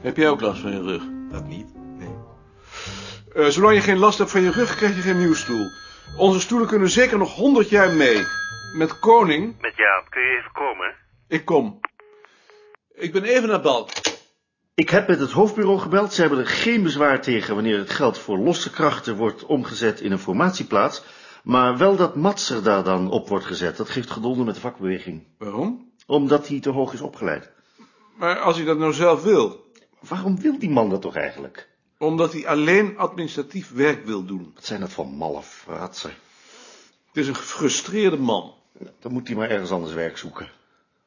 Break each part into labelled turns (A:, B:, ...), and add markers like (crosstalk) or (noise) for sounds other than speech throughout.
A: Heb jij ook last van je rug?
B: Dat niet, nee.
A: Eh, zolang je geen last hebt van je rug, krijg je geen nieuwe stoel. Onze stoelen kunnen zeker nog 100 jaar mee. Met koning,
C: Met Jaap, kun je even komen?
A: ik kom. Ik ben even naar Balk.
D: Ik heb met het hoofdbureau gebeld. Ze hebben er geen bezwaar tegen wanneer het geld voor losse krachten wordt omgezet in een formatieplaats. Maar wel dat Matser daar dan op wordt gezet. Dat geeft gedonder met de vakbeweging.
A: Waarom?
D: Omdat hij te hoog is opgeleid.
A: Maar als hij dat nou zelf wil.
D: Waarom wil die man dat toch eigenlijk?
A: Omdat hij alleen administratief werk wil doen.
D: Wat zijn dat voor malle fratsen?
A: Het is een gefrustreerde man.
D: Dan moet hij maar ergens anders werk zoeken.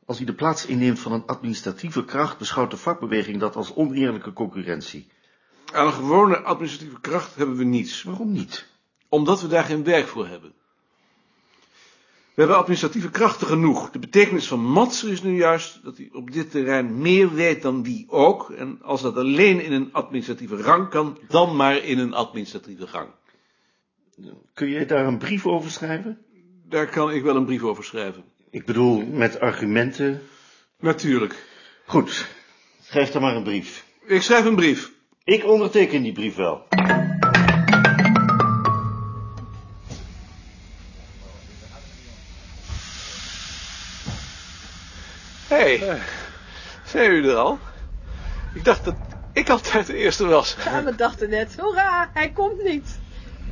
D: Als hij de plaats inneemt van een administratieve kracht, beschouwt de vakbeweging dat als oneerlijke concurrentie.
A: Aan een gewone administratieve kracht hebben we niets.
D: Waarom niet?
A: Omdat we daar geen werk voor hebben. We hebben administratieve krachten genoeg. De betekenis van Matser is nu juist dat hij op dit terrein meer weet dan wie ook. En als dat alleen in een administratieve rang kan, dan maar in een administratieve rang.
D: Kun je daar een brief over schrijven?
A: Daar kan ik wel een brief over schrijven.
D: Ik bedoel, met argumenten.
A: Natuurlijk.
D: Goed, schrijf dan maar een brief.
A: Ik schrijf een brief.
D: Ik onderteken die brief wel.
A: Hé, hey, zijn jullie er al? Ik dacht dat ik altijd de eerste was.
E: En we dachten net, hoera, hij komt niet.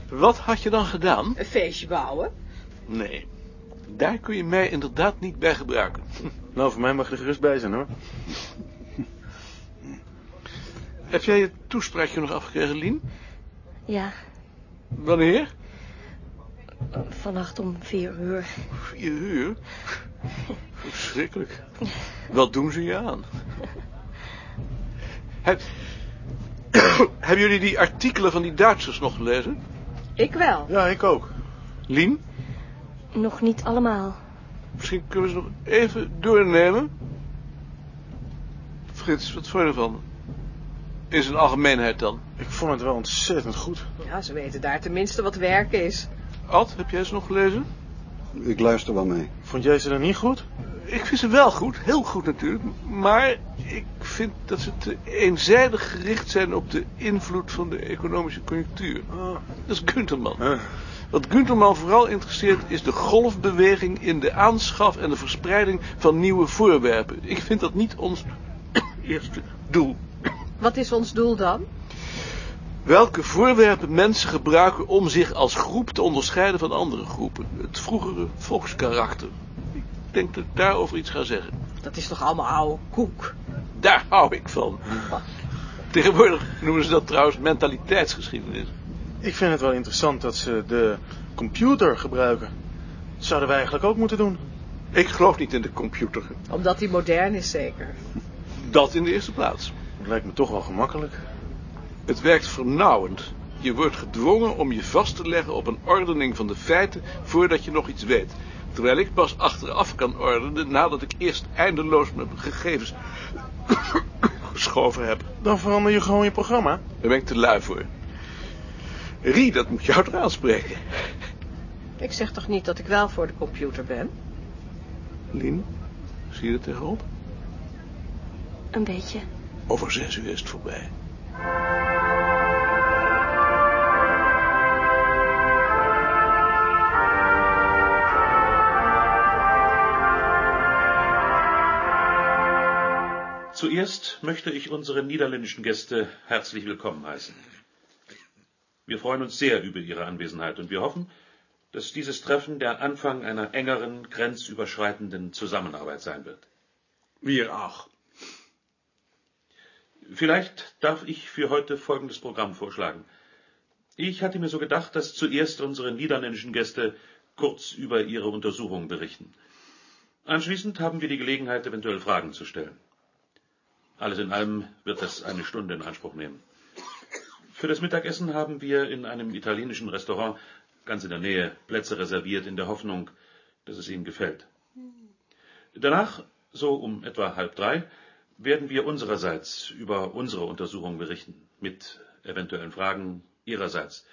A: Wat had je dan gedaan?
E: Een feestje bouwen.
A: Nee, daar kun je mij inderdaad niet bij gebruiken. (laughs)
B: Nou, voor mij mag je er gerust bij zijn, hoor.
A: Heb jij je toespraakje nog afgekregen, Lien?
F: Ja,
A: Wanneer?
F: vannacht om vier uur.
A: Vier uur? Verschrikkelijk. Wat doen ze je aan? Heb... (coughs) Hebben jullie die artikelen van die Duitsers nog gelezen?
E: Ik wel.
B: Ja, ik ook.
A: Lien,
F: Nog niet allemaal.
A: misschien kunnen we ze nog even doornemen. Frits, wat vond je ervan? In zijn algemeenheid dan.
B: Ik vond het wel ontzettend goed.
E: Ja, ze weten daar tenminste wat werken is.
A: Ad, heb jij ze nog gelezen?
G: Ik luister wel mee.
B: Vond jij ze dan niet goed?
A: Ik vind ze wel goed, heel goed natuurlijk. Maar ik vind dat ze te eenzijdig gericht zijn op de invloed van de economische conjunctuur.
B: Ah.
A: Dat is Gunterman.
B: Eh,
A: Wat Gunterman vooral interesseert is de golfbeweging in de aanschaf en de verspreiding van nieuwe voorwerpen. Ik vind dat niet ons (coughs) eerste doel.
E: Wat is ons doel dan?
A: Welke voorwerpen mensen gebruiken om zich als groep te onderscheiden van andere groepen. Het vroegere volkskarakter. Ik denk dat ik daarover iets ga zeggen.
E: Dat is toch allemaal oude koek?
A: Daar hou ik van. Tegenwoordig noemen ze dat trouwens mentaliteitsgeschiedenis.
B: ik vind het wel interessant dat ze de computer gebruiken. Dat zouden wij eigenlijk ook moeten doen.
A: Ik geloof niet in de computer.
E: Omdat hij modern is zeker.
A: Dat in de eerste plaats.
B: Het lijkt me toch wel gemakkelijk.
A: Het werkt vernauwend. Je wordt gedwongen om je vast te leggen op een ordening van de feiten voordat je nog iets weet. Terwijl ik pas achteraf kan ordenen nadat ik eerst eindeloos mijn gegevens (coughs) geschoven heb.
B: Dan verander je gewoon je programma.
A: Daar ben ik te lui voor. Rie, dat moet jou toch aanspreken.
E: Ik zeg toch niet dat ik wel voor de computer ben?
A: Lien, zie je er tegenop?
F: Een beetje.
A: Over zes uur is het voorbij.
H: Zuerst möchte ich unsere niederländischen Gäste herzlich willkommen heißen. Wir freuen uns sehr über Ihre Anwesenheit und wir hoffen, dass dieses Treffen der Anfang einer engeren, grenzüberschreitenden Zusammenarbeit sein wird.
A: Wie auch.
H: Vielleicht darf ich für heute folgendes Programm vorschlagen. Ich hatte mir so gedacht, dass zuerst unsere niederländischen Gäste kurz über ihre Untersuchung berichten. Anschließend haben wir die Gelegenheit, eventuell Fragen zu stellen. Alles in allem wird das eine Stunde in Anspruch nehmen. Für das Mittagessen haben wir in einem italienischen Restaurant ganz in der Nähe Plätze reserviert, in der Hoffnung, dass es Ihnen gefällt. Danach, so um etwa halb drei, werden wir unsererseits über unsere Untersuchung berichten, mit eventuellen Fragen Ihrerseits,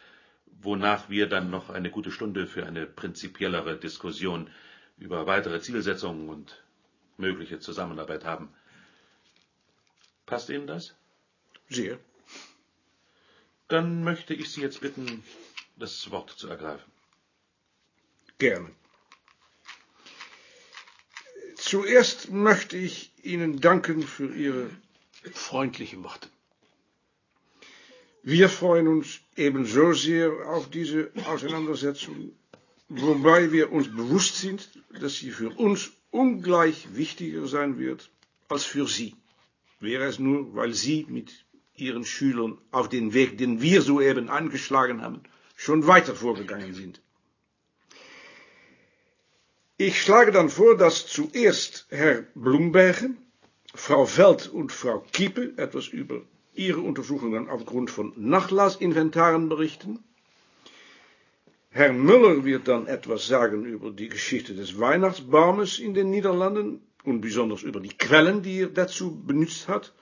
H: wonach wir dann noch eine gute Stunde für eine prinzipiellere Diskussion über weitere Zielsetzungen und mögliche Zusammenarbeit haben. Passt Ihnen das?
A: Sehr.
H: Dann möchte ich Sie jetzt bitten, das Wort zu ergreifen.
A: Gerne. Zuerst möchte ich Ihnen danken für Ihre freundlichen Worte. Wir freuen uns ebenso sehr auf diese Auseinandersetzung, wobei wir uns bewusst sind, dass sie für uns ungleich wichtiger sein wird als für Sie. Wäre es nur, weil Sie mit Ihren Schülern auf den Weg, den wir soeben angeschlagen haben, schon weiter vorgegangen sind. Ich schlage dann vor, dass zuerst Herr Blumbergen, Frau Veld und Frau Kiepe etwas über ihre Untersuchungen aufgrund von Nachlassinventaren berichten. Herr Müller wird dann etwas sagen über die Geschichte des Weihnachtsbaumes in den Niederlanden und besonders über die Quellen, die er dazu benutzt hat.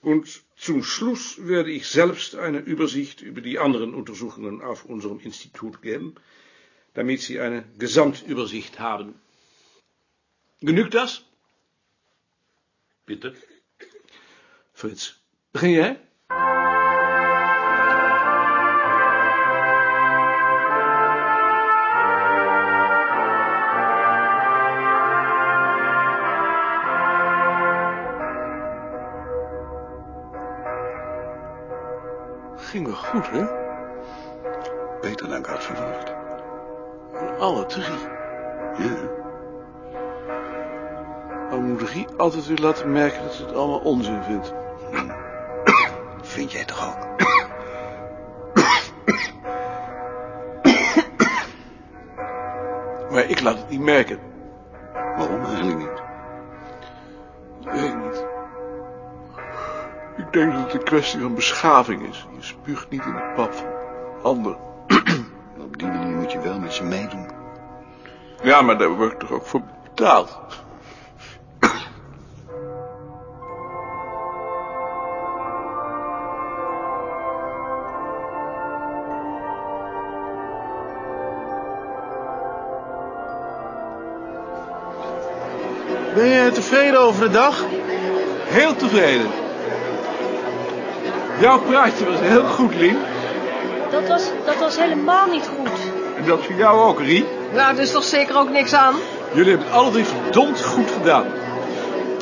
A: Und zum Schluss werde ich selbst eine Übersicht über die anderen Untersuchungen auf unserem Institut geben, damit Sie eine Gesamtübersicht haben. Genügt das?
H: Bitte?
A: Frits, begin jij?
B: Ging wel goed, hè?
G: Beter dan ik had verwacht.
B: Alle drie.
G: Ja,
B: Maar moet Rie altijd weer laten merken dat ze het allemaal onzin vindt.
G: (coughs) vind jij toch ook?
B: Maar ik laat het niet merken.
G: Waarom eigenlijk niet?
B: Weet ik niet. Ik denk dat het een kwestie van beschaving is. Je spuugt niet in de pap van anderen.
G: Op die manier moet je wel met ze meedoen.
B: Ja, maar daar word ik toch ook voor betaald. Ben je tevreden over de dag?
A: Heel tevreden. Jouw praatje was heel goed, Lien.
F: Dat was, dat was helemaal niet goed.
A: En dat voor jou ook, Rie.
E: Nou, dus toch zeker ook niks aan?
A: Jullie hebben het alle drie verdomd goed gedaan.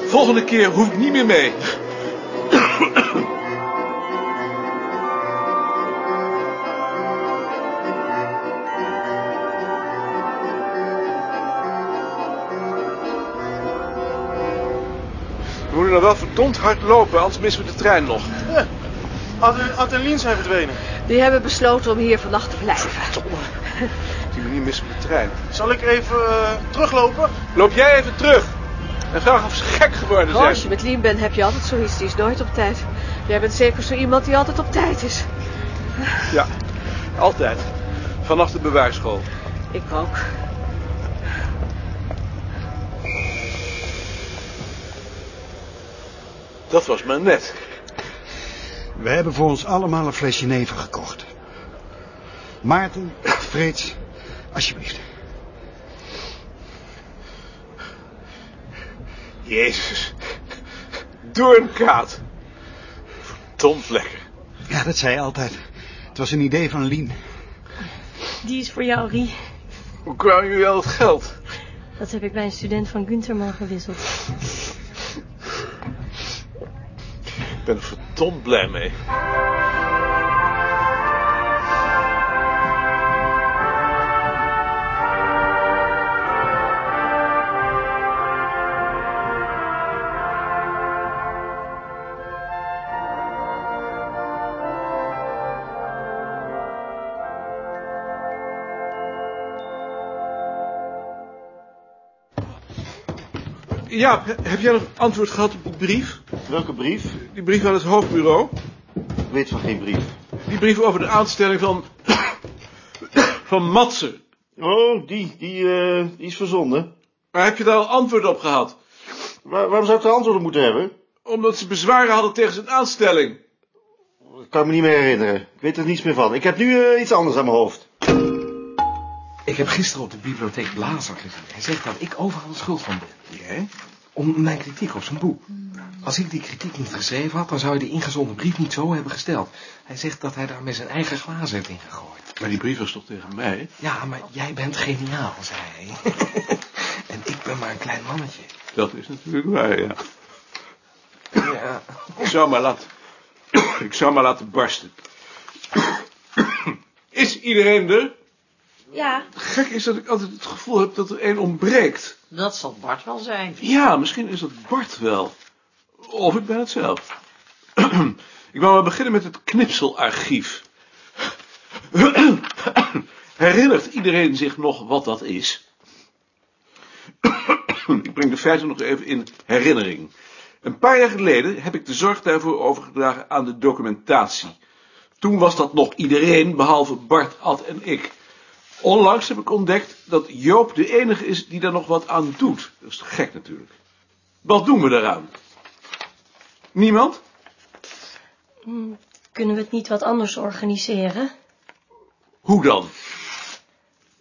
A: Volgende keer hoef ik niet meer mee. We moeten nog wel verdomd hard lopen, anders missen we de trein nog.
B: Ad en Lien zijn verdwenen.
E: Die hebben besloten om hier vannacht te blijven.
A: Op die manier missen we de trein.
B: Zal ik even eh, teruglopen?
A: Loop jij even terug. En vraag of ze gek geworden
E: Oh,
A: zijn.
E: als je met Lien bent, heb je altijd zoiets. Die is nooit op tijd. Jij bent zeker zo iemand die altijd op tijd is.
A: Ja, altijd. Vanaf de bewijsschool.
E: Ik ook.
A: Dat was maar net.
G: We hebben voor ons allemaal een flesje neven gekocht. Maarten, Frits, alsjeblieft.
A: Jezus. Doornkaat. Verdomd lekker.
G: Ja, dat zei hij altijd. Het was een idee van Lien.
F: Die is voor jou, Rie.
A: Hoe kwamen jullie aan het geld?
F: Dat heb ik bij een student van Günterman gewisseld.
A: Ik ben er verdomd blij mee. Ja, heb jij nog antwoord gehad op die brief?
D: Welke brief?
A: Die brief aan het hoofdbureau?
D: Ik weet van geen brief.
A: Die brief over de aanstelling van. (coughs) van Matsen.
D: Oh, die, die, eh, die is verzonden.
A: Maar heb je daar al antwoord op gehad?
D: Waar- waarom zou ik de antwoorden moeten hebben?
A: Omdat ze bezwaren hadden tegen zijn aanstelling.
D: Dat kan ik me niet meer herinneren. Ik weet er niets meer van. Ik heb nu eh, iets anders aan mijn hoofd.
C: Ik heb gisteren op de bibliotheek Blazer gezien. Hij zegt dat ik overal schuld van ben.
A: Jij?
C: om mijn kritiek op zijn boek. Als ik die kritiek niet geschreven had, dan zou hij de ingezonden brief niet zo hebben gesteld. Hij zegt dat hij daarmee zijn eigen glazen heeft ingegooid.
A: Maar die brief was toch tegen mij?
C: Ja, maar jij bent geniaal, zei hij. (laughs) en ik ben maar een klein mannetje.
A: Dat is natuurlijk waar, ja.
C: Ja.
A: Ik zou maar laten... (coughs) Ik zou maar laten barsten. Is iedereen er?
F: Ja,
A: Gek is dat ik altijd het gevoel heb dat er één ontbreekt.
I: Dat zal Bart wel zijn.
A: Ja, misschien is dat Bart wel. Of ik ben het zelf. (clears throat) ik wou maar beginnen met het knipselarchief. (clears throat) Herinnert iedereen zich nog wat dat is? (clears throat) ik breng de feiten nog even in herinnering. Een paar jaar geleden heb ik de zorg daarvoor overgedragen aan de documentatie. Toen was dat nog iedereen, behalve Bart, Ad en ik. Onlangs heb ik ontdekt dat Joop de enige is die daar nog wat aan doet. Dat is gek natuurlijk. Wat doen we daaraan? Niemand?
F: kunnen we het niet wat anders organiseren?
A: Hoe dan?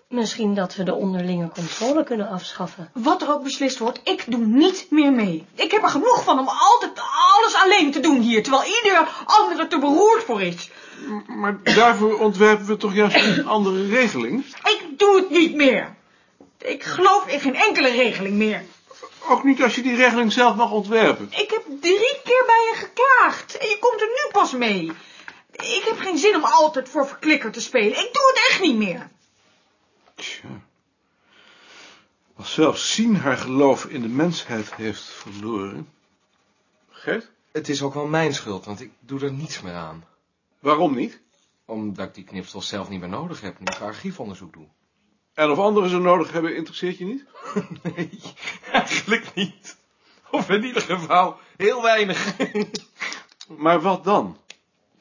F: Misschien dat we de onderlinge controle kunnen afschaffen.
I: Wat er ook beslist wordt, ik doe niet meer mee. Ik heb er genoeg van om altijd alles alleen te doen hier, terwijl iedere andere te beroerd voor is.
A: Maar daarvoor ontwerpen we toch juist een andere regeling?
I: Ik doe het niet meer. Ik geloof in geen enkele regeling meer.
A: Ook niet als je die regeling zelf mag ontwerpen.
I: Ik heb drie keer bij je geklaagd en je komt er nu pas mee. Ik heb geen zin om altijd voor verklikker te spelen. Ik doe het echt niet meer.
A: Tja. Als zelfs Sien haar geloof in de mensheid heeft verloren. Gert?
C: Het is ook wel mijn schuld, want ik doe er niets meer aan.
A: Waarom niet?
C: Omdat ik die knipsels zelf niet meer nodig heb, nu ik archiefonderzoek doe.
A: En of anderen ze nodig hebben, interesseert je niet?
C: (laughs) Nee, eigenlijk niet. Of in ieder geval heel weinig.
A: Maar wat dan?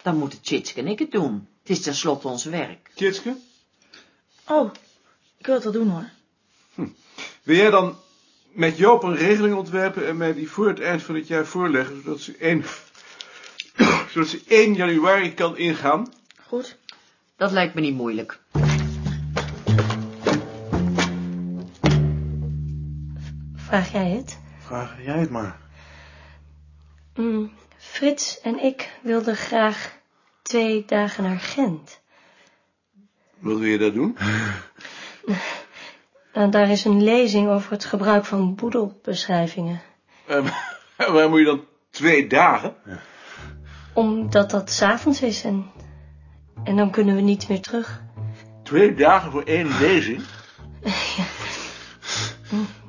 I: Dan moeten Chitske en ik het doen. Het is tenslotte ons werk.
A: Kitske,
F: Oh, ik wil het wel doen hoor.
A: wil jij dan met Joop een regeling ontwerpen en mij die voor het eind van het jaar voorleggen, zodat ze 1, (coughs) zodat ze 1 januari kan ingaan?
F: Goed.
I: Dat lijkt me niet moeilijk.
F: Vraag jij het?
B: Vraag jij het maar.
F: Mm, Frits en ik wilden graag twee dagen naar Gent.
A: Wat wil je daar doen?
C: (laughs)
F: En Nou, daar is een lezing over het gebruik van boedelbeschrijvingen.
A: waar moet je dan twee dagen?
F: Omdat dat s'avonds is en, en dan kunnen we niet meer terug.
A: Twee dagen voor één lezing?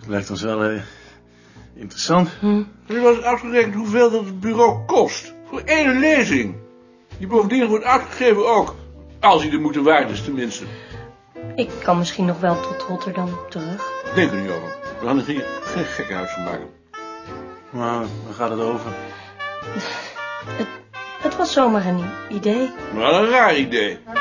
B: Lijkt ons wel eh, interessant.
A: Nu was uitgerekend hoeveel dat het bureau kost. Voor één lezing. Die bovendien wordt uitgegeven ook. Als hij de moeite waard is tenminste.
F: Ik kan misschien nog wel tot Rotterdam terug.
A: Denk er niet over. We gaan er geen, geen gekke huis van maken.
B: Maar waar gaat het over?
F: Het was zomaar een idee.
A: Maar een raar idee.